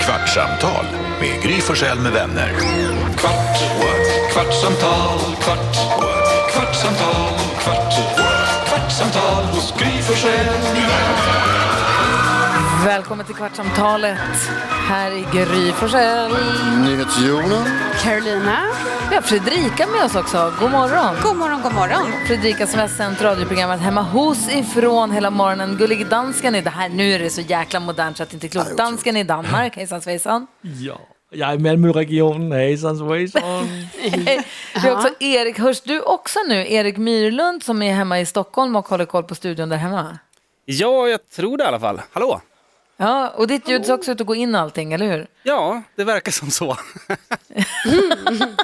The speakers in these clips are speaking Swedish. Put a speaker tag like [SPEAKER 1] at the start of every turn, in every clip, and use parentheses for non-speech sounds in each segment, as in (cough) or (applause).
[SPEAKER 1] Kvartsamtal med Gry Forssell med vänner. Kvart, what? kvartsamtal, kvart, what? kvartsamtal, kvart, what? kvartsamtal, Gry Forssell med vänner.
[SPEAKER 2] Välkommen till Kvartsamtalet. Här i Gry Forssell.
[SPEAKER 3] NyhetsJonas.
[SPEAKER 4] Carolina.
[SPEAKER 2] Vi har Fredrika med oss också. God morgon.
[SPEAKER 4] God morgon, god morgon.
[SPEAKER 2] Fredrika som har sänt radioprogrammet Hemma hos ifrån hela morgonen. Gullig dansken är det här. Nu är det så jäkla modernt så att det inte är klokt. Dansken i Danmark. Hejsan svejsan.
[SPEAKER 5] Ja, jag är Malmöregionen, hejsan svejsan.
[SPEAKER 2] (laughs) Vi har också Erik. Hörs du också nu? Erik Myrlund som är hemma i Stockholm och håller koll på studion där hemma.
[SPEAKER 6] Ja, jag tror det i alla fall. Hallå?
[SPEAKER 2] Ja, och ditt ljud ska också ut och gå in allting, eller hur?
[SPEAKER 6] Ja, det verkar som så.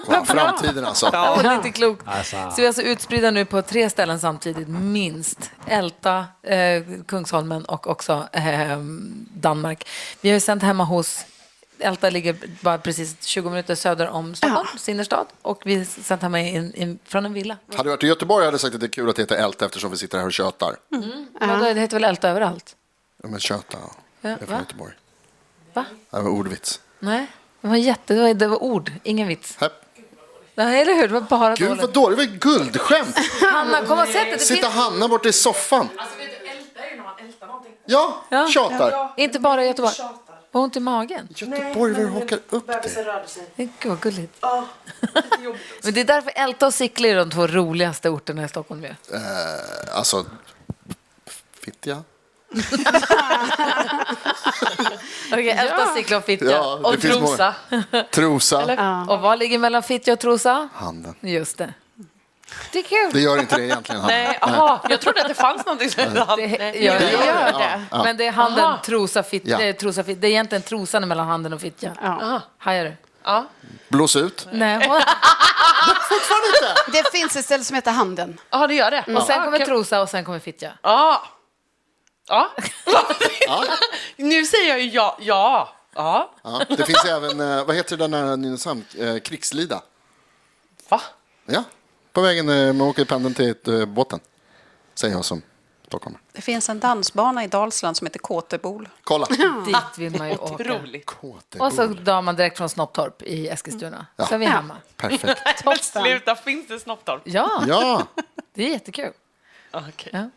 [SPEAKER 3] Ja, framtiden alltså.
[SPEAKER 2] Ja, det är inte klokt. Så vi är alltså utspridda nu på tre ställen samtidigt, minst. Älta, eh, Kungsholmen och också eh, Danmark. Vi har ju sänt hemma hos Älta ligger bara precis 20 minuter söder om Stockholms innerstad och vi har sänt hemma i, i, från en villa.
[SPEAKER 3] Hade du varit i Göteborg hade jag sagt att det är kul att heta Älta eftersom vi sitter här och tjötar.
[SPEAKER 2] Mm. Vadå, det heter väl Älta överallt?
[SPEAKER 3] Ja, men tjöta, ja. jag är
[SPEAKER 2] va?
[SPEAKER 3] från Göteborg.
[SPEAKER 2] Va?
[SPEAKER 3] Det var ordvits.
[SPEAKER 2] Nej, det var, jätte, det var, det var ord, ingen vits.
[SPEAKER 3] Hepp.
[SPEAKER 2] Nej, eller hur? Det var bara
[SPEAKER 3] Gud
[SPEAKER 2] dåligt.
[SPEAKER 3] vad dåligt, det var
[SPEAKER 2] (laughs)
[SPEAKER 3] ett guldskämt.
[SPEAKER 2] Hanna, kom och sätt dig. Det Alltså,
[SPEAKER 3] Sitta
[SPEAKER 2] finns
[SPEAKER 3] Hanna borta i soffan. Ja,
[SPEAKER 2] Ja.
[SPEAKER 3] tjatar.
[SPEAKER 2] inte bara i Göteborg. Var ont i magen?
[SPEAKER 3] Göteborg, vad du hakar upp
[SPEAKER 7] Alltså,
[SPEAKER 3] det.
[SPEAKER 2] Gud vad gulligt. (laughs) Men det är därför Älta och Sickla är de två roligaste orterna i Stockholm ju.
[SPEAKER 3] Eh, alltså, fittiga.
[SPEAKER 2] Okej, Älta, Sickla och Fittja.
[SPEAKER 3] Ja, det
[SPEAKER 2] och
[SPEAKER 3] finns
[SPEAKER 2] Trosa.
[SPEAKER 3] Trosa,
[SPEAKER 2] (laughs) Och vad ligger mellan Fittja och Trosa?
[SPEAKER 3] handen.
[SPEAKER 2] Just det. Det är kul.
[SPEAKER 3] Det gör inte det egentligen, Hanna.
[SPEAKER 7] Nej, aha, jag trodde att det fanns någonting som hette hand.
[SPEAKER 2] (laughs) Det
[SPEAKER 7] Nej.
[SPEAKER 2] gör
[SPEAKER 3] Det
[SPEAKER 2] det.
[SPEAKER 3] gör det. Ja,
[SPEAKER 2] Men det är handen, trosa, fit,
[SPEAKER 3] Ja.
[SPEAKER 2] eh, trosa, fit. Det är egentligen trosan mellan handen och fittja.
[SPEAKER 7] Aha.
[SPEAKER 2] Hajar du?
[SPEAKER 7] Ja.
[SPEAKER 3] Blås ut.
[SPEAKER 2] (laughs) Nej.
[SPEAKER 3] Fortfarande inte!
[SPEAKER 4] Det finns ett ställe som heter Handen.
[SPEAKER 7] ja, det gör det.
[SPEAKER 2] Och sen kommer trosa och sen kommer fittja.
[SPEAKER 7] Ja. Ja. Nu säger jag ju ja. Ja. ja.
[SPEAKER 3] Ja, det finns även, eh, vad heter det där nära Nynäshamn, Eh, Krigslida?
[SPEAKER 7] Va?
[SPEAKER 3] Ja, på vägen, eh, man åker pendeln till eh, båten. Säger jag som stockholmare.
[SPEAKER 4] Det finns en dansbana i Dalsland som heter Kåtebol. (laughs)
[SPEAKER 3] Kolla!
[SPEAKER 2] Dit vill (laughs) man ju åka.
[SPEAKER 7] Roligt.
[SPEAKER 2] Och så drar man direkt från Snopptorp i Eskilstuna. Så är vi hemma.
[SPEAKER 3] Perfekt.
[SPEAKER 7] (laughs) Sluta, finns det snopptorp?
[SPEAKER 2] Ja,
[SPEAKER 3] Ja,
[SPEAKER 2] det är jättekul.
[SPEAKER 7] Okej.
[SPEAKER 2] Ja.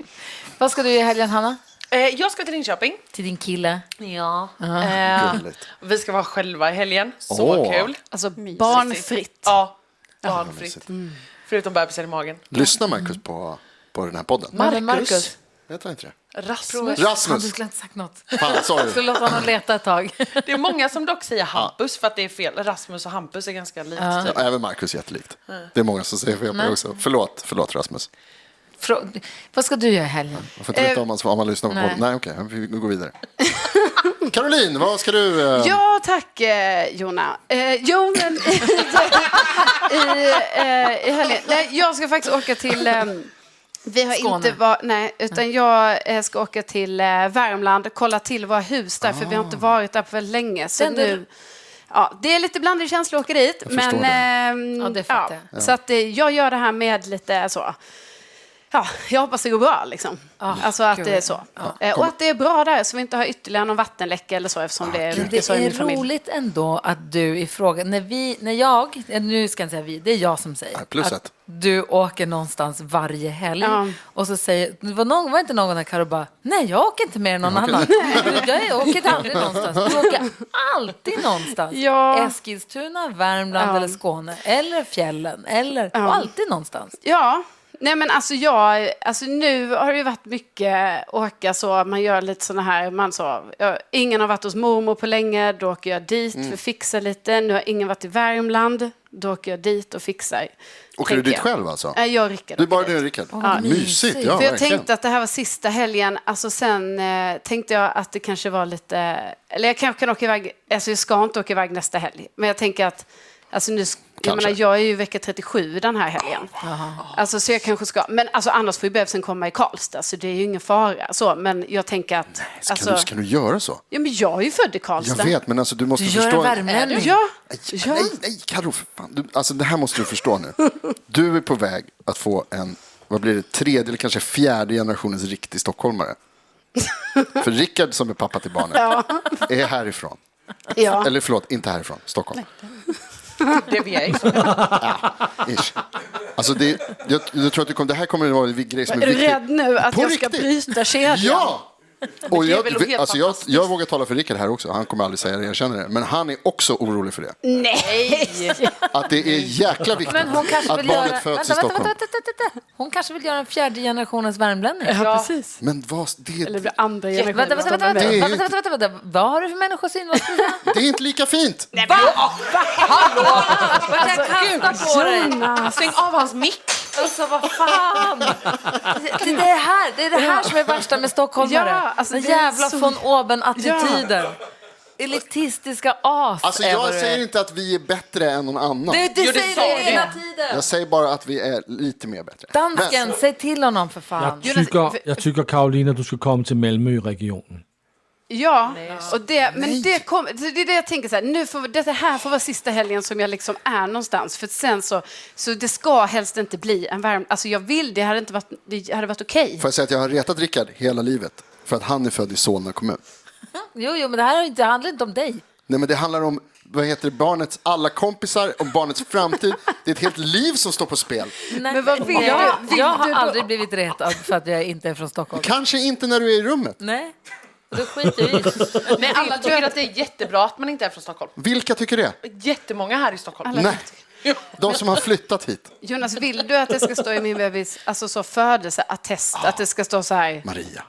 [SPEAKER 2] Vad ska du i helgen, Hanna?
[SPEAKER 7] Eh, jag ska till Linköping.
[SPEAKER 2] Till din kille?
[SPEAKER 7] Ja. Eh,
[SPEAKER 3] Gulligt.
[SPEAKER 7] vi ska vara själva i helgen. Så
[SPEAKER 3] Åh.
[SPEAKER 7] kul.
[SPEAKER 4] Alltså barnfritt.
[SPEAKER 7] Ja,
[SPEAKER 3] mysigt.
[SPEAKER 7] barnfritt. Förutom bebisen i magen.
[SPEAKER 3] lyssna Marcus på, på den här podden.
[SPEAKER 2] Marcus.
[SPEAKER 3] Heter han inte det?
[SPEAKER 7] Rasmus.
[SPEAKER 2] Han, du
[SPEAKER 3] Rasmus!
[SPEAKER 2] skulle inte sagt något.
[SPEAKER 3] Fan,
[SPEAKER 2] Du skulle
[SPEAKER 3] sorry.
[SPEAKER 2] låta honom leta ett tag.
[SPEAKER 7] Det är många som dock säger Hampus för att det är fel. Rasmus och Hampus är ganska likt. typ.
[SPEAKER 3] Ja, även Marcus är jättelikt. Det är många som säger fel på det också. Förlåt, förlåt Rasmus.
[SPEAKER 2] Frå- Vad ska du göra i helgen?
[SPEAKER 3] Man får inte
[SPEAKER 4] Eh,
[SPEAKER 3] veta om man, om man lyssnar på
[SPEAKER 2] nej.
[SPEAKER 3] podden. Nej, okej, vi går
[SPEAKER 4] (laughs)
[SPEAKER 3] vidare. Caroline, vad ska du... eh,
[SPEAKER 4] Ja, tack eh, Jonna. Eh, jo, men (laughs) i, eh, i helgen. Nej, jag ska faktiskt åka till... Eh, vi har
[SPEAKER 2] Skåne.
[SPEAKER 4] inte var, nej, utan jag eh, ska åka till eh, Värmland och kolla till våra hus där, för vi
[SPEAKER 2] Ah.
[SPEAKER 4] har inte varit där på väldigt länge. Så
[SPEAKER 2] Den där-
[SPEAKER 4] nu, ja, det är lite blandade känslor att åka dit, men...
[SPEAKER 3] förstår
[SPEAKER 4] ehm,
[SPEAKER 2] Ja, det fattar
[SPEAKER 4] Så att, eh, jag gör det här med lite så... Ja, jag hoppas det går bra. Liksom. alltså att
[SPEAKER 2] Ah, kul.
[SPEAKER 4] det är så. Eh, Och att det är bra där, så vi inte har ytterligare någon vattenläcka eller så, eftersom Eh, det är
[SPEAKER 3] kul.
[SPEAKER 4] mycket
[SPEAKER 2] Eh, Det
[SPEAKER 4] så i
[SPEAKER 2] är
[SPEAKER 4] min familj.
[SPEAKER 2] roligt ändå att du ifråga... När vi, när jag, eh, nu ska jag inte säga vi, det är jag som säger.
[SPEAKER 3] Ja, plus
[SPEAKER 2] att
[SPEAKER 3] ett.
[SPEAKER 2] du åker någonstans varje helg.
[SPEAKER 4] Ja.
[SPEAKER 2] Och så säger, det var, någon, var inte någon gång när Karo bara, nej jag åker inte med någon annan. (laughs) Jag åker aldrig någonstans. Du åker alltid någonstans.
[SPEAKER 4] Ja.
[SPEAKER 2] Eskilstuna, Värmland eller Skåne. Eller fjällen. Eller, och alltid någonstans.
[SPEAKER 4] Ja. Nej men alltså jag, alltså nu har det ju varit mycket åka så, man gör lite sådana här, man så, jag, ingen har varit hos mormor på länge, då åker jag dit
[SPEAKER 3] Mm.
[SPEAKER 4] för att fixa lite, nu har ingen varit i Värmland, då åker jag dit och fixar.
[SPEAKER 3] Åker du
[SPEAKER 4] tänker
[SPEAKER 3] dit
[SPEAKER 4] jag. Eh,
[SPEAKER 3] själv alltså?
[SPEAKER 4] Nej, jag och Rickard
[SPEAKER 3] Du är bara
[SPEAKER 4] åker dit.
[SPEAKER 3] du och Rickard?
[SPEAKER 2] vad
[SPEAKER 3] Mysigt,
[SPEAKER 2] mysigt.
[SPEAKER 3] ja
[SPEAKER 4] För jag
[SPEAKER 3] verkligen.
[SPEAKER 4] tänkte att det här var sista helgen, alltså sen eh, tänkte jag att det kanske var lite, eller jag kanske kan åka iväg, alltså jag ska inte åka iväg nästa helg, men jag tänker att, alltså nu, sk- jag
[SPEAKER 3] Kanske.
[SPEAKER 4] menar jag är ju vecka 37 den här helgen. Alltså så jag kanske ska, men alltså annars får ju bebisen komma i Karlstad, så det är ju ingen fara så, men jag tänker att,
[SPEAKER 3] Ska,
[SPEAKER 4] alltså,
[SPEAKER 3] du, ska du göra så?
[SPEAKER 4] ja men jag är ju född i Karlstad.
[SPEAKER 3] Jag vet, men alltså du måste
[SPEAKER 2] Du gör
[SPEAKER 3] förstå.
[SPEAKER 2] en värmlänning.
[SPEAKER 4] Ja,
[SPEAKER 3] Nej,
[SPEAKER 4] ja.
[SPEAKER 3] nej, nej, Karo, för fan. Du, alltså det här måste du förstå nu. Du är på väg att få en, vad blir det, tredje eller kanske fjärde generationens riktig stockholmare. För Rickard som är pappa till barnet är härifrån.
[SPEAKER 4] Ja.
[SPEAKER 3] Eller förlåt, inte härifrån, Stockholm.
[SPEAKER 7] Det vi är.
[SPEAKER 3] Ish. Alltså det, jag, jag tror att det, kommer, det här kommer att vara en grej som är,
[SPEAKER 4] Är du
[SPEAKER 3] viktig.
[SPEAKER 4] rädd nu att
[SPEAKER 3] På
[SPEAKER 4] jag ska
[SPEAKER 3] riktigt?
[SPEAKER 4] bryta kedjan?
[SPEAKER 3] Ja! Och
[SPEAKER 7] Det är väl
[SPEAKER 3] jag,
[SPEAKER 7] helt
[SPEAKER 3] alltså jag,
[SPEAKER 7] fantastiskt.
[SPEAKER 3] jag vågar tala för Rickard här också, han kommer aldrig säga det, jag känner det. Men han är också orolig för det.
[SPEAKER 7] Nej.
[SPEAKER 3] Att det är jäkla viktigt
[SPEAKER 2] Men hon kanske
[SPEAKER 3] att
[SPEAKER 2] vill
[SPEAKER 3] barnet
[SPEAKER 2] göra...
[SPEAKER 3] föds
[SPEAKER 2] Vänta,
[SPEAKER 3] i
[SPEAKER 2] vänta,
[SPEAKER 3] Stockholm.
[SPEAKER 2] vänta, vänta, vänta. Hon kanske vill göra en fjärde generationens
[SPEAKER 4] (laughs)
[SPEAKER 2] värmlänning.
[SPEAKER 4] Ja, precis.
[SPEAKER 3] Men vad, det,
[SPEAKER 4] Eller det blir andra
[SPEAKER 2] Vänta, vänta, vänta,
[SPEAKER 4] generationen som är
[SPEAKER 2] vänta,
[SPEAKER 4] med.
[SPEAKER 3] Det är
[SPEAKER 2] vänta,
[SPEAKER 3] ju-
[SPEAKER 2] vänta, vänta, vänta. Vad har du för människosyn? Vad ska du
[SPEAKER 3] (laughs)
[SPEAKER 2] säga?
[SPEAKER 3] det är inte lika fint!
[SPEAKER 7] Va? Hallå!
[SPEAKER 2] Vad ska jag kasta på dig?
[SPEAKER 4] Jonas.
[SPEAKER 7] Stäng av hans mick.
[SPEAKER 2] Alltså vad fan! Det, det, är det, här, det är det här som är värsta med stockholmare.
[SPEAKER 4] Ja, alltså,
[SPEAKER 2] Den
[SPEAKER 4] det är
[SPEAKER 2] jävla
[SPEAKER 4] så-
[SPEAKER 2] von oben-attityden. Elitistiska as
[SPEAKER 3] Alltså
[SPEAKER 2] är vad
[SPEAKER 3] jag
[SPEAKER 2] du är.
[SPEAKER 3] säger inte att vi är bättre än någon annan.
[SPEAKER 2] eh, Du, du
[SPEAKER 7] Jo, det
[SPEAKER 2] säger
[SPEAKER 7] sa
[SPEAKER 2] det
[SPEAKER 7] vi.
[SPEAKER 2] hela tiden!
[SPEAKER 3] Jag säger bara att vi är lite mer bättre.
[SPEAKER 2] Dansken,
[SPEAKER 3] Men-
[SPEAKER 2] säg till honom för fan.
[SPEAKER 5] Jeg tykker, jeg tykker, Karolina, du skal komme til Malmø i regionen.
[SPEAKER 4] Ja, och det, men det, kom, det är det jag tänker så här, nu får, det här får vara sista helgen som jag liksom är någonstans. För sen så, så det ska helst inte bli en värme. Alltså jag vill, det hade inte varit, det hade varit okej.
[SPEAKER 3] Får jag säga att jag har retat Rickard hela livet för att han är född i Solna kommun.
[SPEAKER 2] Jo, jo, men det här har inte- handlar inte om dig.
[SPEAKER 3] Nej men det handlar om, vad heter det, barnets alla kompisar, om barnets framtid. Det är ett helt liv som står på spel.
[SPEAKER 2] Nej,
[SPEAKER 4] Men vad
[SPEAKER 2] nej.
[SPEAKER 4] vill du?
[SPEAKER 2] jag,
[SPEAKER 4] Vill
[SPEAKER 2] jag har
[SPEAKER 4] du då-
[SPEAKER 2] aldrig blivit retad för att jag inte är från Stockholm.
[SPEAKER 3] Kanske inte när du är i rummet.
[SPEAKER 2] Nej, då skiter
[SPEAKER 7] (laughs)
[SPEAKER 2] jag i.
[SPEAKER 7] Men alla tycker att det är jättebra att man inte är från Stockholm.
[SPEAKER 3] Vilka tycker det?
[SPEAKER 7] Jättemånga här i Stockholm.
[SPEAKER 3] Nej, de som har flyttat hit.
[SPEAKER 4] Jonas, vill du att det ska stå i min bebis alltså så födelseattest? Att det ska stå så här,
[SPEAKER 3] Maria.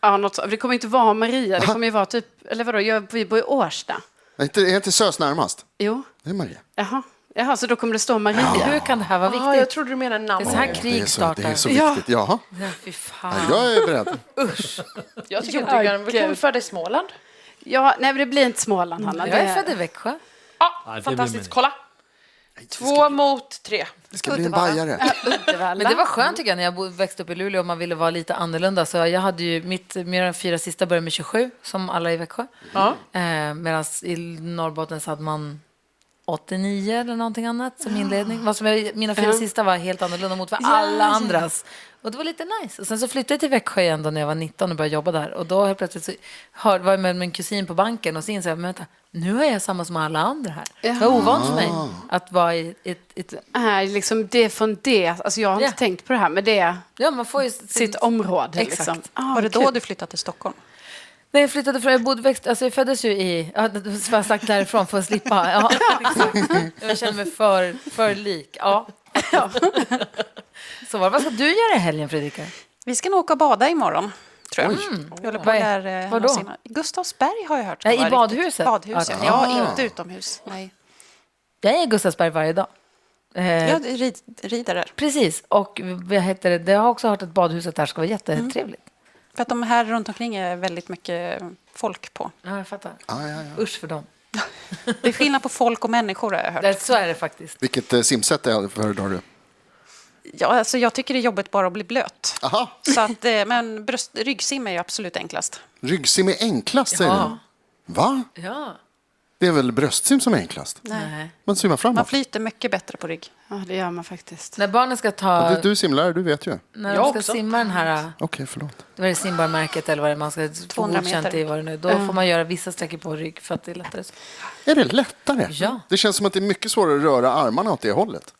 [SPEAKER 4] ja, något, så- det kommer inte vara Maria, det kommer ju vara typ, eller vadå, jag, vi bor i Årsta.
[SPEAKER 3] Är inte, är inte SÖS närmast?
[SPEAKER 4] Jo,
[SPEAKER 3] Det är Maria.
[SPEAKER 4] jaha, jaha så då kommer det stå Maria.
[SPEAKER 2] Hur kan det här vara
[SPEAKER 7] Ja, jag
[SPEAKER 2] viktigt?
[SPEAKER 7] trodde du menade
[SPEAKER 2] Det
[SPEAKER 7] namn.
[SPEAKER 2] är så här
[SPEAKER 3] Det är
[SPEAKER 2] krig
[SPEAKER 3] så, det är
[SPEAKER 2] startar.
[SPEAKER 3] så
[SPEAKER 4] Ja.
[SPEAKER 3] viktigt. Jaha,
[SPEAKER 2] Nej, Fy fan.
[SPEAKER 3] jag är beredd.
[SPEAKER 7] Jag tycker inte du gör det. Vi kan väl föda i Småland?
[SPEAKER 4] Ja, nej men det blir inte Småland, Hanna.
[SPEAKER 2] Jag
[SPEAKER 4] Det- (laughs)
[SPEAKER 2] är född i Växjö.
[SPEAKER 5] Nej,
[SPEAKER 7] Ja,
[SPEAKER 5] det blir man-
[SPEAKER 7] fantastiskt. Kolla. Två mot tre.
[SPEAKER 3] Det ska bli en bajare.
[SPEAKER 4] Uddevalla.
[SPEAKER 2] Men det var skönt tycker jag när jag bo- växte upp i Luleå och man ville vara lite annorlunda. Så jag hade ju mitt, mina fyra sista började med 27 som alla i Växjö.
[SPEAKER 7] Ja.
[SPEAKER 2] Eh, Medan i Norrbotten så hade man 89 eller någonting annat som inledning. Vad som jag, mina fyra sista var helt annorlunda mot vad alla andras. Och det var lite nice. Och sen så flyttade jag till Växjö igen då när jag var 19 och började jobba där. Och då helt plötsligt så hör, var jag med min kusin på banken och så insåg jag, men vänta, nu är jag samma som alla andra här. Det var ovant för mig att vara i ett... ett
[SPEAKER 4] är liksom det från det. Alltså jag har inte
[SPEAKER 2] Ja.
[SPEAKER 4] tänkt på det här, men det är
[SPEAKER 2] ja, man får ju sin-
[SPEAKER 4] sitt område.
[SPEAKER 2] Exakt.
[SPEAKER 4] Liksom. Ah,
[SPEAKER 8] Var det
[SPEAKER 4] kul.
[SPEAKER 8] då du flyttade till Stockholm?
[SPEAKER 2] Nej, jag flyttade från, jag bodde, växt, alltså jag föddes ju i, ja, det var jag sagt därifrån för att slippa.
[SPEAKER 8] (laughs)
[SPEAKER 2] Ja, exakt. jag känner mig för, för lik. Ja. (laughs) Så var det. Vad ska du göra i helgen, Fredrika?
[SPEAKER 8] Vi ska nog åka och bada imorgon, tror jag. Mm. Vi håller på
[SPEAKER 2] Vad är-
[SPEAKER 8] där, eh,
[SPEAKER 2] var då?
[SPEAKER 8] någonsin. Gustavsberg har jag hört. ska
[SPEAKER 2] Nej, i
[SPEAKER 8] vara riktigt-
[SPEAKER 2] badhuset?
[SPEAKER 8] Badhuset,
[SPEAKER 2] Ah.
[SPEAKER 8] ja. Inte utomhus. Nej.
[SPEAKER 2] Jag är i Gustavsberg varje dag. Eh,
[SPEAKER 8] Jag rid, rider där.
[SPEAKER 2] Precis, och vad heter det? jag har också hört att badhuset här
[SPEAKER 8] Mm.
[SPEAKER 2] ska vara jättetrevligt.
[SPEAKER 8] För att de här runt omkring är väldigt mycket eh, folk på.
[SPEAKER 2] Ja, jag fattar.
[SPEAKER 3] Ja, ja, ja.
[SPEAKER 2] Usch för dem.
[SPEAKER 8] Det är skillnad på folk och människor har jag hört.
[SPEAKER 2] Det, så är det faktiskt.
[SPEAKER 3] Vilket eh, simsätt är- föredrar du?
[SPEAKER 8] Ja, alltså, jag tycker det är jobbigt bara att bli blöt.
[SPEAKER 3] Aha,
[SPEAKER 8] Så att, eh, men bröst, ryggsim är ju absolut enklast.
[SPEAKER 3] ryggsim är enklast säger
[SPEAKER 2] Ja.
[SPEAKER 3] du. Va?
[SPEAKER 2] Ja.
[SPEAKER 3] Det är väl bröstsim som är enklast?
[SPEAKER 2] Nej.
[SPEAKER 3] Man simmar
[SPEAKER 8] Man
[SPEAKER 3] framåt.
[SPEAKER 8] flyter mycket bättre på rygg.
[SPEAKER 4] Ja, det gör man faktiskt.
[SPEAKER 2] När barnen ska ta,
[SPEAKER 3] Du, du simlärare, du vet ju. Okej,
[SPEAKER 2] när
[SPEAKER 7] Jag
[SPEAKER 2] de ska
[SPEAKER 7] också.
[SPEAKER 2] simma den här
[SPEAKER 3] förlåt.
[SPEAKER 2] vad är det simbarmärket eller vad det är man ska få
[SPEAKER 8] 200 meter.
[SPEAKER 2] godkänt i vad det nu är. Då får man göra vissa sträckor på rygg för att det är lättare. så.
[SPEAKER 3] Är det lättare?
[SPEAKER 2] Ja.
[SPEAKER 3] Det känns som att det är mycket svårare att röra armarna åt det hållet.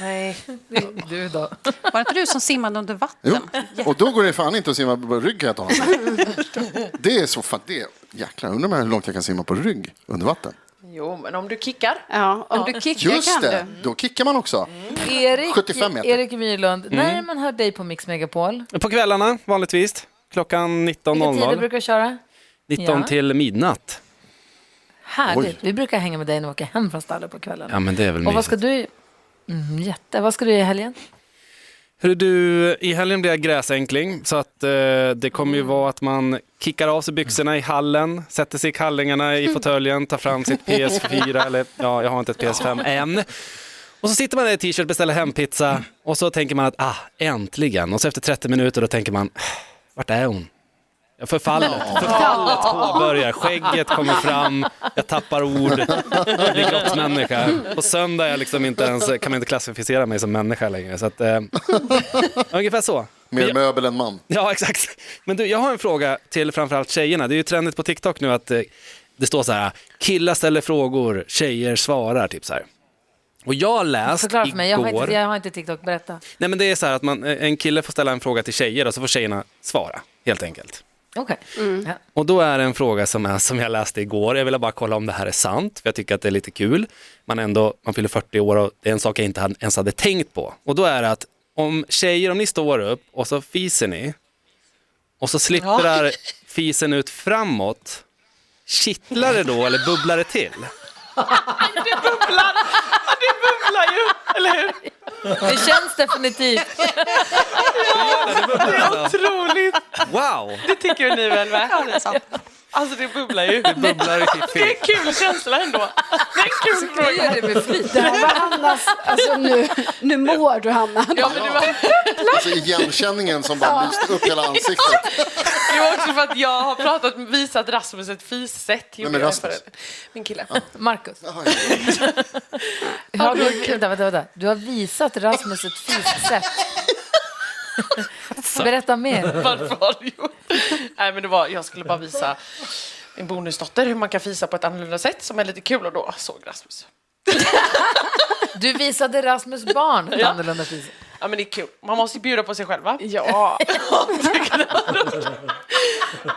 [SPEAKER 7] Nej.
[SPEAKER 2] (laughs) Du då?
[SPEAKER 8] Var det inte du som simmade under
[SPEAKER 3] Jo.
[SPEAKER 8] vatten?
[SPEAKER 3] Och då går det fan inte att simma på rygg kan jag ta. Det är så fan, det är, jäklar, undrar man hur långt jag kan simma på rygg under vatten.
[SPEAKER 7] Jo, men om du kickar.
[SPEAKER 4] Ja, om du kickar
[SPEAKER 3] Just
[SPEAKER 4] kan
[SPEAKER 3] det,
[SPEAKER 4] du.
[SPEAKER 3] då kickar man också.
[SPEAKER 2] Mm. Erik,
[SPEAKER 3] 75 meter.
[SPEAKER 2] Erik Myrlund,
[SPEAKER 6] Mm.
[SPEAKER 2] när man hör dig på Mix Megapol,
[SPEAKER 6] På kvällarna vanligtvis. Klockan
[SPEAKER 2] vilka tider
[SPEAKER 6] 19.00.
[SPEAKER 2] brukar du köra?
[SPEAKER 6] 19
[SPEAKER 2] Ja.
[SPEAKER 6] till midnatt.
[SPEAKER 2] Härligt. Vi brukar hänga med dig när vi åker hem från stallet på kvällen.
[SPEAKER 6] Ja, men det är väl
[SPEAKER 2] Och vad
[SPEAKER 6] mysigt.
[SPEAKER 2] ska du... Mm, jätte. Vad ska du göra i helgen?
[SPEAKER 6] Hörru du, i helgen blir jag gräsänkling så att eh, det kommer ju
[SPEAKER 2] Mm.
[SPEAKER 6] vara att man kickar av sig byxorna i hallen, sätter sig i
[SPEAKER 2] (laughs)
[SPEAKER 6] kallingarna i fåtöljen, tar fram sitt PS4 eller ja, jag har inte ett PS5 än. Och så sitter man där i t-shirt, beställer hempizza och så tänker man att ah, äntligen. Och så efter 30 minuter då tänker man, "Äh, vart är hon? Jag förfallet, förfallet påbörjar, skägget kommer fram, jag tappar ord, jag blir grottmänniska. På söndag är jag liksom inte ens, kan man inte klassificera mig som människa längre. Så att, eh, ungefär så.
[SPEAKER 3] Mer möbel än man.
[SPEAKER 6] Ja, exakt. Men du, jag har en fråga till framförallt tjejerna. Det är ju trendigt på TikTok nu att eh, det står så här, killar ställer frågor, tjejer svarar, typ så här. Och jag har läst
[SPEAKER 2] Förklara för mig, jag har,
[SPEAKER 6] igår-
[SPEAKER 2] inte, jag har inte TikTok, berätta.
[SPEAKER 6] Nej men det är så här att man, eh, en kille får ställa en fråga till tjejer och så får tjejerna svara, helt enkelt.
[SPEAKER 2] Okej. Ja.
[SPEAKER 6] Och då är det en fråga som, är, som jag läste igår, jag ville bara kolla om det här är sant, för jag tycker att det är lite kul. Man, är ändå, man fyller 40 år och det är en sak jag inte hade, ens hade tänkt på. Och då är det att om tjejer, om ni står upp och så fiser ni, och så slittrar fisen ut framåt, kittlar det då eller bubblar det till?
[SPEAKER 2] Det känns definitivt.
[SPEAKER 7] Otroligt!
[SPEAKER 6] Wow!
[SPEAKER 7] Det tycker ju ni väl va?
[SPEAKER 8] Ja, det är sant.
[SPEAKER 7] Alltså det bubblar ju.
[SPEAKER 6] Det bubblar i sitt
[SPEAKER 7] Det är
[SPEAKER 6] fil.
[SPEAKER 7] en kul känsla ändå. Det är en kul
[SPEAKER 2] Jag
[SPEAKER 7] fråga.
[SPEAKER 2] gör det med flit.
[SPEAKER 4] Det här var Hannas, alltså nu, nu mår du Hanna.
[SPEAKER 7] Ja, men det, var,
[SPEAKER 3] (laughs) Alltså igenkänningen som bara lyste upp hela ansiktet.
[SPEAKER 7] det var också för att jag har pratat, visat Rasmus ett fissätt. gjorde
[SPEAKER 3] men
[SPEAKER 7] jag
[SPEAKER 3] Rasmus?
[SPEAKER 7] förut. Min kille.
[SPEAKER 2] Marcus,
[SPEAKER 3] Jaha, ja.
[SPEAKER 2] har du, vänta, vänta, vänta. du har visat Rasmus ett fissätt. Berätta mer.
[SPEAKER 7] (laughs) Varför har du gjort Nej, men det var, jag skulle bara visa min bonusdotter hur man kan fisa på ett annorlunda sätt som är lite kul och då såg Rasmus.
[SPEAKER 2] Du visade Rasmus barn (laughs) ett annorlunda fis.
[SPEAKER 7] Ja, men det är kul. Man måste ju bjuda på sig själva.
[SPEAKER 4] Ja,
[SPEAKER 7] (laughs)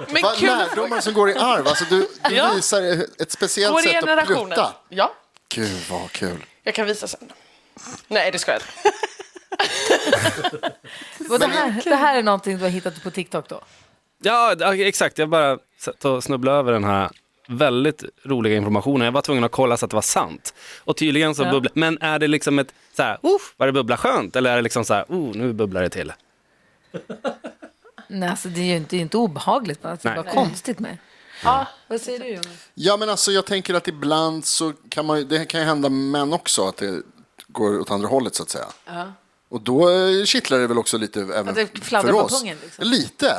[SPEAKER 7] Men
[SPEAKER 3] Vad
[SPEAKER 7] kul
[SPEAKER 3] Lärdomar som går i arv. Alltså du, du
[SPEAKER 7] Ja.
[SPEAKER 3] visar ett speciellt
[SPEAKER 7] går i
[SPEAKER 3] sätt att
[SPEAKER 7] generationen.
[SPEAKER 3] prutta.
[SPEAKER 7] Ja,
[SPEAKER 3] Gud vad kul.
[SPEAKER 7] jag kan visa sen. Nej, det ska jag inte.
[SPEAKER 2] Och det, här, det här är någonting du har hittat på TikTok då?
[SPEAKER 6] Ja, d- ja, exakt. Jag bara satt och snubblade över den här väldigt roliga informationen. Jag var tvungen att kolla så att det var sant. Och tydligen så
[SPEAKER 2] Ja.
[SPEAKER 6] bubblar... Men är det liksom ett så här, uff, var det bubbla skönt? Eller är det liksom så här, oh, nu bubblar det till?
[SPEAKER 2] Nej, alltså det är ju inte, det är inte obehagligt, men alltså, det är
[SPEAKER 6] Nej.
[SPEAKER 2] bara konstigt med. Ja, vad säger du Jonas?
[SPEAKER 3] Ja, men alltså jag tänker att ibland så kan man ju- det kan ju hända män också att det går åt andra hållet så att säga. Och då eh, kittlar det väl också lite även
[SPEAKER 2] Att det fladdrar
[SPEAKER 3] för
[SPEAKER 2] på
[SPEAKER 3] oss.
[SPEAKER 2] pungen, liksom.
[SPEAKER 3] Lite.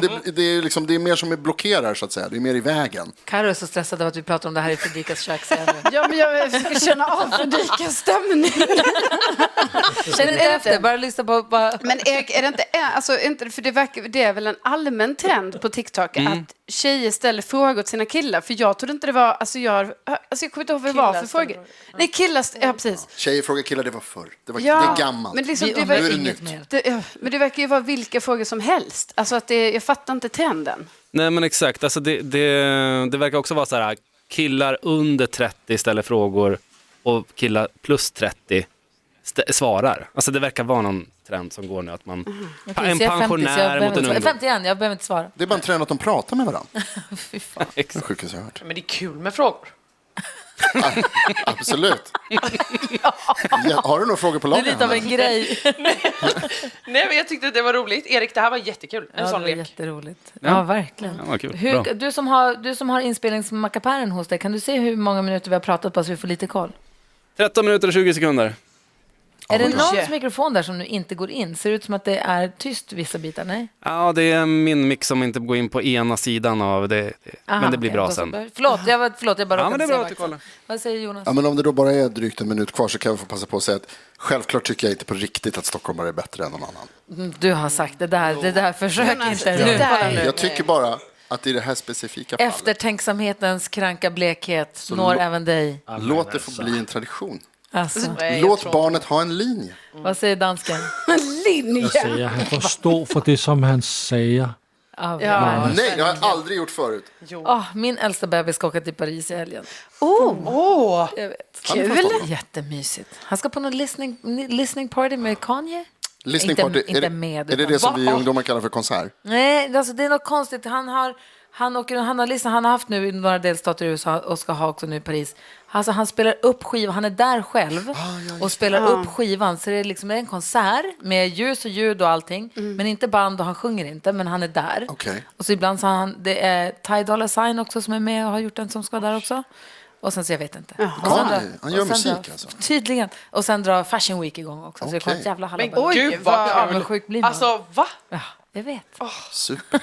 [SPEAKER 2] (laughs)
[SPEAKER 3] det, det, är liksom, det är mer som det blockerar så att säga. Det är mer i vägen.
[SPEAKER 2] Karo är så stressad av att vi pratar om det här i Fredrikas kök. säger (laughs) jag nu.
[SPEAKER 4] ja men jag försöker känna av Fredrikas stämning.
[SPEAKER 2] Känn inte efter, bara lyssna på... Bara...
[SPEAKER 4] Men är, är det inte, är, alltså, är inte, för det, verkar, det är väl en allmän trend på TikTok
[SPEAKER 3] Mm.
[SPEAKER 4] att tjejer ställer frågor till sina killar. För jag trodde inte det var, alltså jag, alltså, jag kommer inte ihåg vad det var
[SPEAKER 7] Killar
[SPEAKER 4] för
[SPEAKER 7] ställer
[SPEAKER 4] frågor. Nej, killar, st- ja precis.
[SPEAKER 3] Tjejer frågar killar, det var förr. Det, var,
[SPEAKER 4] Ja,
[SPEAKER 3] det är gammalt.
[SPEAKER 4] Men, liksom,
[SPEAKER 2] Vi
[SPEAKER 4] det
[SPEAKER 2] undrar
[SPEAKER 4] verkar-
[SPEAKER 2] inget mer.
[SPEAKER 4] det, ja, men det verkar ju vara vilka frågor som helst. Alltså att det, jag fattar inte trenden.
[SPEAKER 6] Nej, men exakt. Alltså det, det, det verkar också vara så här, killar under 30 ställer frågor och killar plus 30 st- svarar. Alltså det verkar vara någon trend som går nu, att man...
[SPEAKER 2] Okej,
[SPEAKER 6] en
[SPEAKER 2] så jag är 50, så jag
[SPEAKER 6] pensionär
[SPEAKER 2] behöver
[SPEAKER 6] mot en
[SPEAKER 2] inte svara.
[SPEAKER 6] ung.
[SPEAKER 2] 50 igen, jag behöver inte svara. (laughs)
[SPEAKER 3] Det är bara en trend att de pratar med varandra. Det
[SPEAKER 2] Fy fan.
[SPEAKER 3] är det sjukaste jag har hört.
[SPEAKER 7] Men det är kul med frågor.
[SPEAKER 2] (laughs)
[SPEAKER 3] Absolut. ja. Har du några frågor på
[SPEAKER 2] Det är
[SPEAKER 3] lager?
[SPEAKER 2] lite av en
[SPEAKER 3] Hanna?
[SPEAKER 6] (laughs)
[SPEAKER 2] grej.
[SPEAKER 7] Nej, men jag tyckte att det var roligt. Erik, det här var jättekul. En
[SPEAKER 2] Ja, det
[SPEAKER 7] sån
[SPEAKER 2] var
[SPEAKER 7] lek.
[SPEAKER 2] jätteroligt. Ja, verkligen.
[SPEAKER 6] Ja, vad kul. Bra.
[SPEAKER 2] Hur, du, som har, du som har inspelningsmackapären hos dig, kan du se hur många minuter vi har pratat bara så vi får lite koll?
[SPEAKER 6] 13 minuter och 20 sekunder.
[SPEAKER 2] Är det
[SPEAKER 3] men-
[SPEAKER 2] någons mikrofon där som nu inte går in? Ser det ut som att det är tyst vissa bitar? Nej?
[SPEAKER 6] Ja, det är min mix som inte går in på ena sidan av det.
[SPEAKER 2] Aha,
[SPEAKER 6] men det blir
[SPEAKER 2] okej,
[SPEAKER 6] bra
[SPEAKER 2] då så.
[SPEAKER 6] sen.
[SPEAKER 2] Förlåt, jag, var- förlåt, jag bara
[SPEAKER 6] Ja,
[SPEAKER 2] råkade
[SPEAKER 6] men det är
[SPEAKER 2] säga
[SPEAKER 6] bra att du
[SPEAKER 2] Vaxholm. Vad säger Jonas?
[SPEAKER 3] Ja, men om det då bara är drygt en minut kvar så kan jag få passa på att säga att självklart tycker jag inte på riktigt att stockholmare är bättre än någon annan.
[SPEAKER 2] Mm, Du har sagt det där, det där försök
[SPEAKER 4] Jonas,
[SPEAKER 2] inte.
[SPEAKER 4] det
[SPEAKER 2] Nu,
[SPEAKER 4] där-
[SPEAKER 2] kolla nu.
[SPEAKER 3] Jag tycker bara att i det här specifika fallet,
[SPEAKER 2] Eftertänksamhetens kranka blekhet når
[SPEAKER 3] lo-
[SPEAKER 2] även dig.
[SPEAKER 3] låt det få bli en tradition.
[SPEAKER 2] Alltså,
[SPEAKER 6] Mm.
[SPEAKER 7] Nej, jag
[SPEAKER 3] Låt
[SPEAKER 7] tror-
[SPEAKER 3] barnet ha en linje.
[SPEAKER 2] vad säger dansken?
[SPEAKER 5] Jag säger, han får stå för det som han säger.
[SPEAKER 2] Ah,
[SPEAKER 4] Ja.
[SPEAKER 3] Nej, det har jag aldrig gjort förut.
[SPEAKER 2] Ah, min äldsta bebis ska åka till Paris i helgen.
[SPEAKER 6] Oh.
[SPEAKER 2] Oh.
[SPEAKER 7] Åh!
[SPEAKER 2] Jag vet.
[SPEAKER 3] Han är från Stockholm.
[SPEAKER 2] Jättemysigt. Han ska på någon listening, listening party med Kanye.
[SPEAKER 3] Listening
[SPEAKER 2] Inte-
[SPEAKER 3] party,
[SPEAKER 2] inte
[SPEAKER 3] är, det,
[SPEAKER 2] med,
[SPEAKER 3] är det
[SPEAKER 2] utan-
[SPEAKER 3] det som vi
[SPEAKER 7] Va?
[SPEAKER 3] ungdomar kallar för konsert?
[SPEAKER 2] Nej, alltså det är något konstigt. Han har, han åker, han har, lyssnat, han har haft nu i några delstater i USA och ska ha också nu i Paris. Alltså han spelar upp skivan, han är där
[SPEAKER 3] Ah,
[SPEAKER 2] själv och spelar upp
[SPEAKER 7] Ah.
[SPEAKER 2] skivan. Så det är liksom en konsert med ljus och ljud och allting.
[SPEAKER 7] Mm.
[SPEAKER 2] Men inte band och han sjunger inte, men han är där.
[SPEAKER 3] Okej.
[SPEAKER 2] Och så ibland så har han, det är Ty Dolla Sign också som är med och har gjort en som ska vara där också. Och sen så jag vet inte. Och sen
[SPEAKER 3] Kanye,
[SPEAKER 2] drar-
[SPEAKER 3] han gör
[SPEAKER 2] och sen
[SPEAKER 3] musik
[SPEAKER 2] drar-
[SPEAKER 3] alltså?
[SPEAKER 2] Tydligen. Och sen drar Fashion Week igång också. Så det kommer
[SPEAKER 3] Okej.
[SPEAKER 2] ett jävla
[SPEAKER 7] Men
[SPEAKER 2] hallaballa.
[SPEAKER 7] gud vad
[SPEAKER 4] vad
[SPEAKER 7] kul.
[SPEAKER 2] avundsjuk blir man.
[SPEAKER 7] Alltså, va?
[SPEAKER 2] Ja, jag vet.
[SPEAKER 3] Super.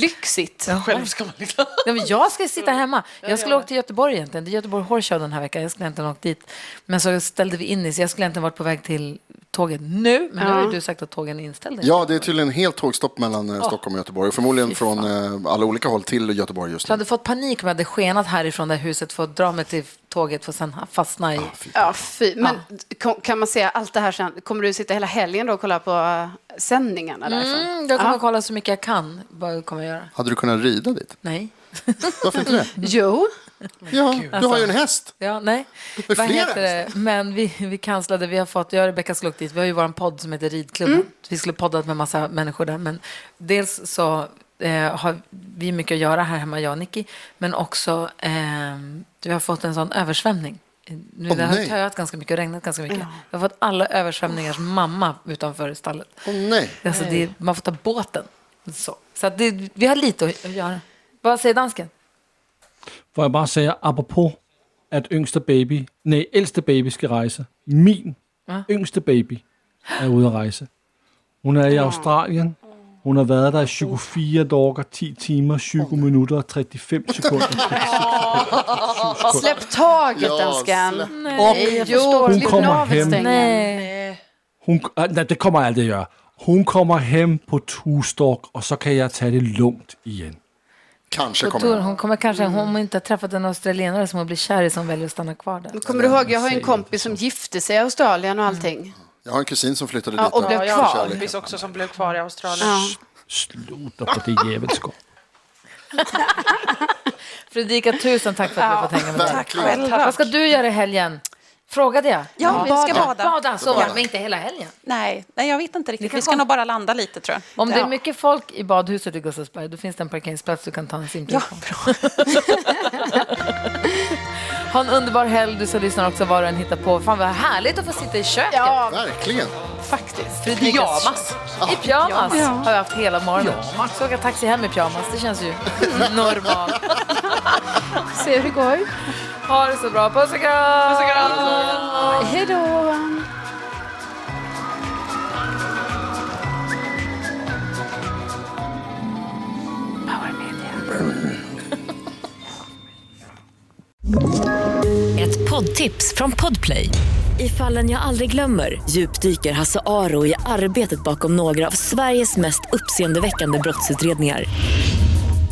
[SPEAKER 4] Lyxigt.
[SPEAKER 7] Själv ska man liksom...
[SPEAKER 2] Nej, men jag ska sitta hemma. Jag skulle åka till Göteborg egentligen. Det är Göteborg Horse Show den här veckan. Jag skulle egentligen åkt dit. Men så ställde vi in det, så jag skulle egentligen varit på väg till tåget nu, men nu
[SPEAKER 4] Ja.
[SPEAKER 2] har ju du sagt att tågen är inställda.
[SPEAKER 3] Ja, det är tydligen helt tågstopp mellan eh, Stockholm och Göteborg. Förmodligen
[SPEAKER 2] Fy
[SPEAKER 3] från eh, alla olika håll till Göteborg just
[SPEAKER 2] Jag
[SPEAKER 3] nu.
[SPEAKER 2] hade fått panik om jag hade skenat härifrån det här huset, fått dra mig till tåget för att sen fastna i...
[SPEAKER 4] Ja, fy. Men kom- kan man se allt det här sen? Kommer du sitta hela helgen då och kolla på eh, sändningarna därifrån?
[SPEAKER 2] Mm, jag kommer kolla så mycket jag kan. Vad kommer jag göra?
[SPEAKER 3] Hade du kunnat rida dit?
[SPEAKER 2] Nej.
[SPEAKER 3] Varför
[SPEAKER 2] (laughs)
[SPEAKER 3] inte det?
[SPEAKER 4] Jo,
[SPEAKER 3] Ja, du har ju en
[SPEAKER 2] Alltså.
[SPEAKER 3] häst.
[SPEAKER 2] Ja, nej.
[SPEAKER 3] är
[SPEAKER 2] Vad
[SPEAKER 3] flera
[SPEAKER 2] heter det? Men vi, vi kanslade, vi har fått, jag och Rebecka skulle åkt dit, vi har ju vår podd som heter Ridklubben.
[SPEAKER 3] Mm.
[SPEAKER 2] Vi skulle poddat med massa människor där, men dels så eh, har vi mycket att göra här hemma, jag och Nicky, men också eh, vi har fått en sån översvämning. Nu
[SPEAKER 3] Åh,
[SPEAKER 2] det har
[SPEAKER 3] nej.
[SPEAKER 2] töat ganska mycket och regnat ganska mycket. Vi har fått alla översvämningars mamma utanför stallet.
[SPEAKER 3] Åh nej.
[SPEAKER 2] Alltså, det, är- man får ta båten. Så, så att det, vi har lite att göra. Vad säger dansken?
[SPEAKER 5] Får jeg bare sige, apropos, at yngste baby, nej, ældste baby skal rejse. Min yngste baby er ude at rejse. Hun er i Australien. Hun har været der i 24 dage, 10 timer, 20 minutter og 35 sekunder.
[SPEAKER 4] släpp taget, dansken.
[SPEAKER 3] Nej,
[SPEAKER 4] Jo,
[SPEAKER 5] Hon
[SPEAKER 4] lyft
[SPEAKER 5] kommer
[SPEAKER 4] navelsträngen.
[SPEAKER 2] Nej.
[SPEAKER 5] Hun, ah, nej, det kommer jeg aldrig at gøre. Hun kommer hjem på tustok, og så kan jeg tage det lungt igen.
[SPEAKER 3] Kanske
[SPEAKER 2] På
[SPEAKER 3] kommer
[SPEAKER 2] tur,
[SPEAKER 3] den.
[SPEAKER 2] hon kommer kanske, hon har inte har träffat en australienare som hon blir kär i som väljer att stanna kvar där.
[SPEAKER 4] Kommer du ihåg, jag har ju en kompis som gifte sig i Australien och allting.
[SPEAKER 3] Jag har en kusin som flyttade
[SPEAKER 4] Ja,
[SPEAKER 3] dit.
[SPEAKER 4] och
[SPEAKER 3] av
[SPEAKER 4] blev
[SPEAKER 7] Ja, jag
[SPEAKER 4] kvar.
[SPEAKER 7] har en
[SPEAKER 3] kärlek.
[SPEAKER 7] kompis också som blev kvar i Australien.
[SPEAKER 5] Slutter på det jævelskov.
[SPEAKER 2] Fredrika, tusen tack för att vi har fått hänga med dig.
[SPEAKER 8] Tack själva.
[SPEAKER 2] Vad ska du göra i helgen? Frågade jag.
[SPEAKER 8] Ja, vi ska bada.
[SPEAKER 2] Bada, sova,
[SPEAKER 3] Ja.
[SPEAKER 2] men inte hela helgen.
[SPEAKER 8] Nej, nej, jag vet inte riktigt.
[SPEAKER 2] kan
[SPEAKER 8] Vi ska
[SPEAKER 2] kom-
[SPEAKER 8] nog bara landa lite tror jag.
[SPEAKER 2] Om det är
[SPEAKER 8] Ja.
[SPEAKER 2] mycket folk i badhuset i Gustavsberg, då finns det en parkeringsplats du kan ta en simtur
[SPEAKER 8] Ja,
[SPEAKER 2] på. (laughs) ha en underbar helg, du som lyssnar också var du än hittar på. Fan vad härligt att få sitta i köket.
[SPEAKER 4] Ja,
[SPEAKER 3] Verkligen.
[SPEAKER 4] faktiskt.
[SPEAKER 2] Fredrikas pyjamas. I pyjamas har jag haft hela morgonen. Pyjamas. Så åka taxi hem i pyjamas, det känns ju (laughs) normalt.
[SPEAKER 4] Se hur det går.
[SPEAKER 2] Ha det så bra, puss och kram! Puss och kram.
[SPEAKER 4] Hej då!
[SPEAKER 9] Ett poddtips från Podplay. I fallen jag aldrig glömmer djupdyker Hasse Aro i arbetet bakom några av Sveriges mest uppseendeväckande brottsutredningar.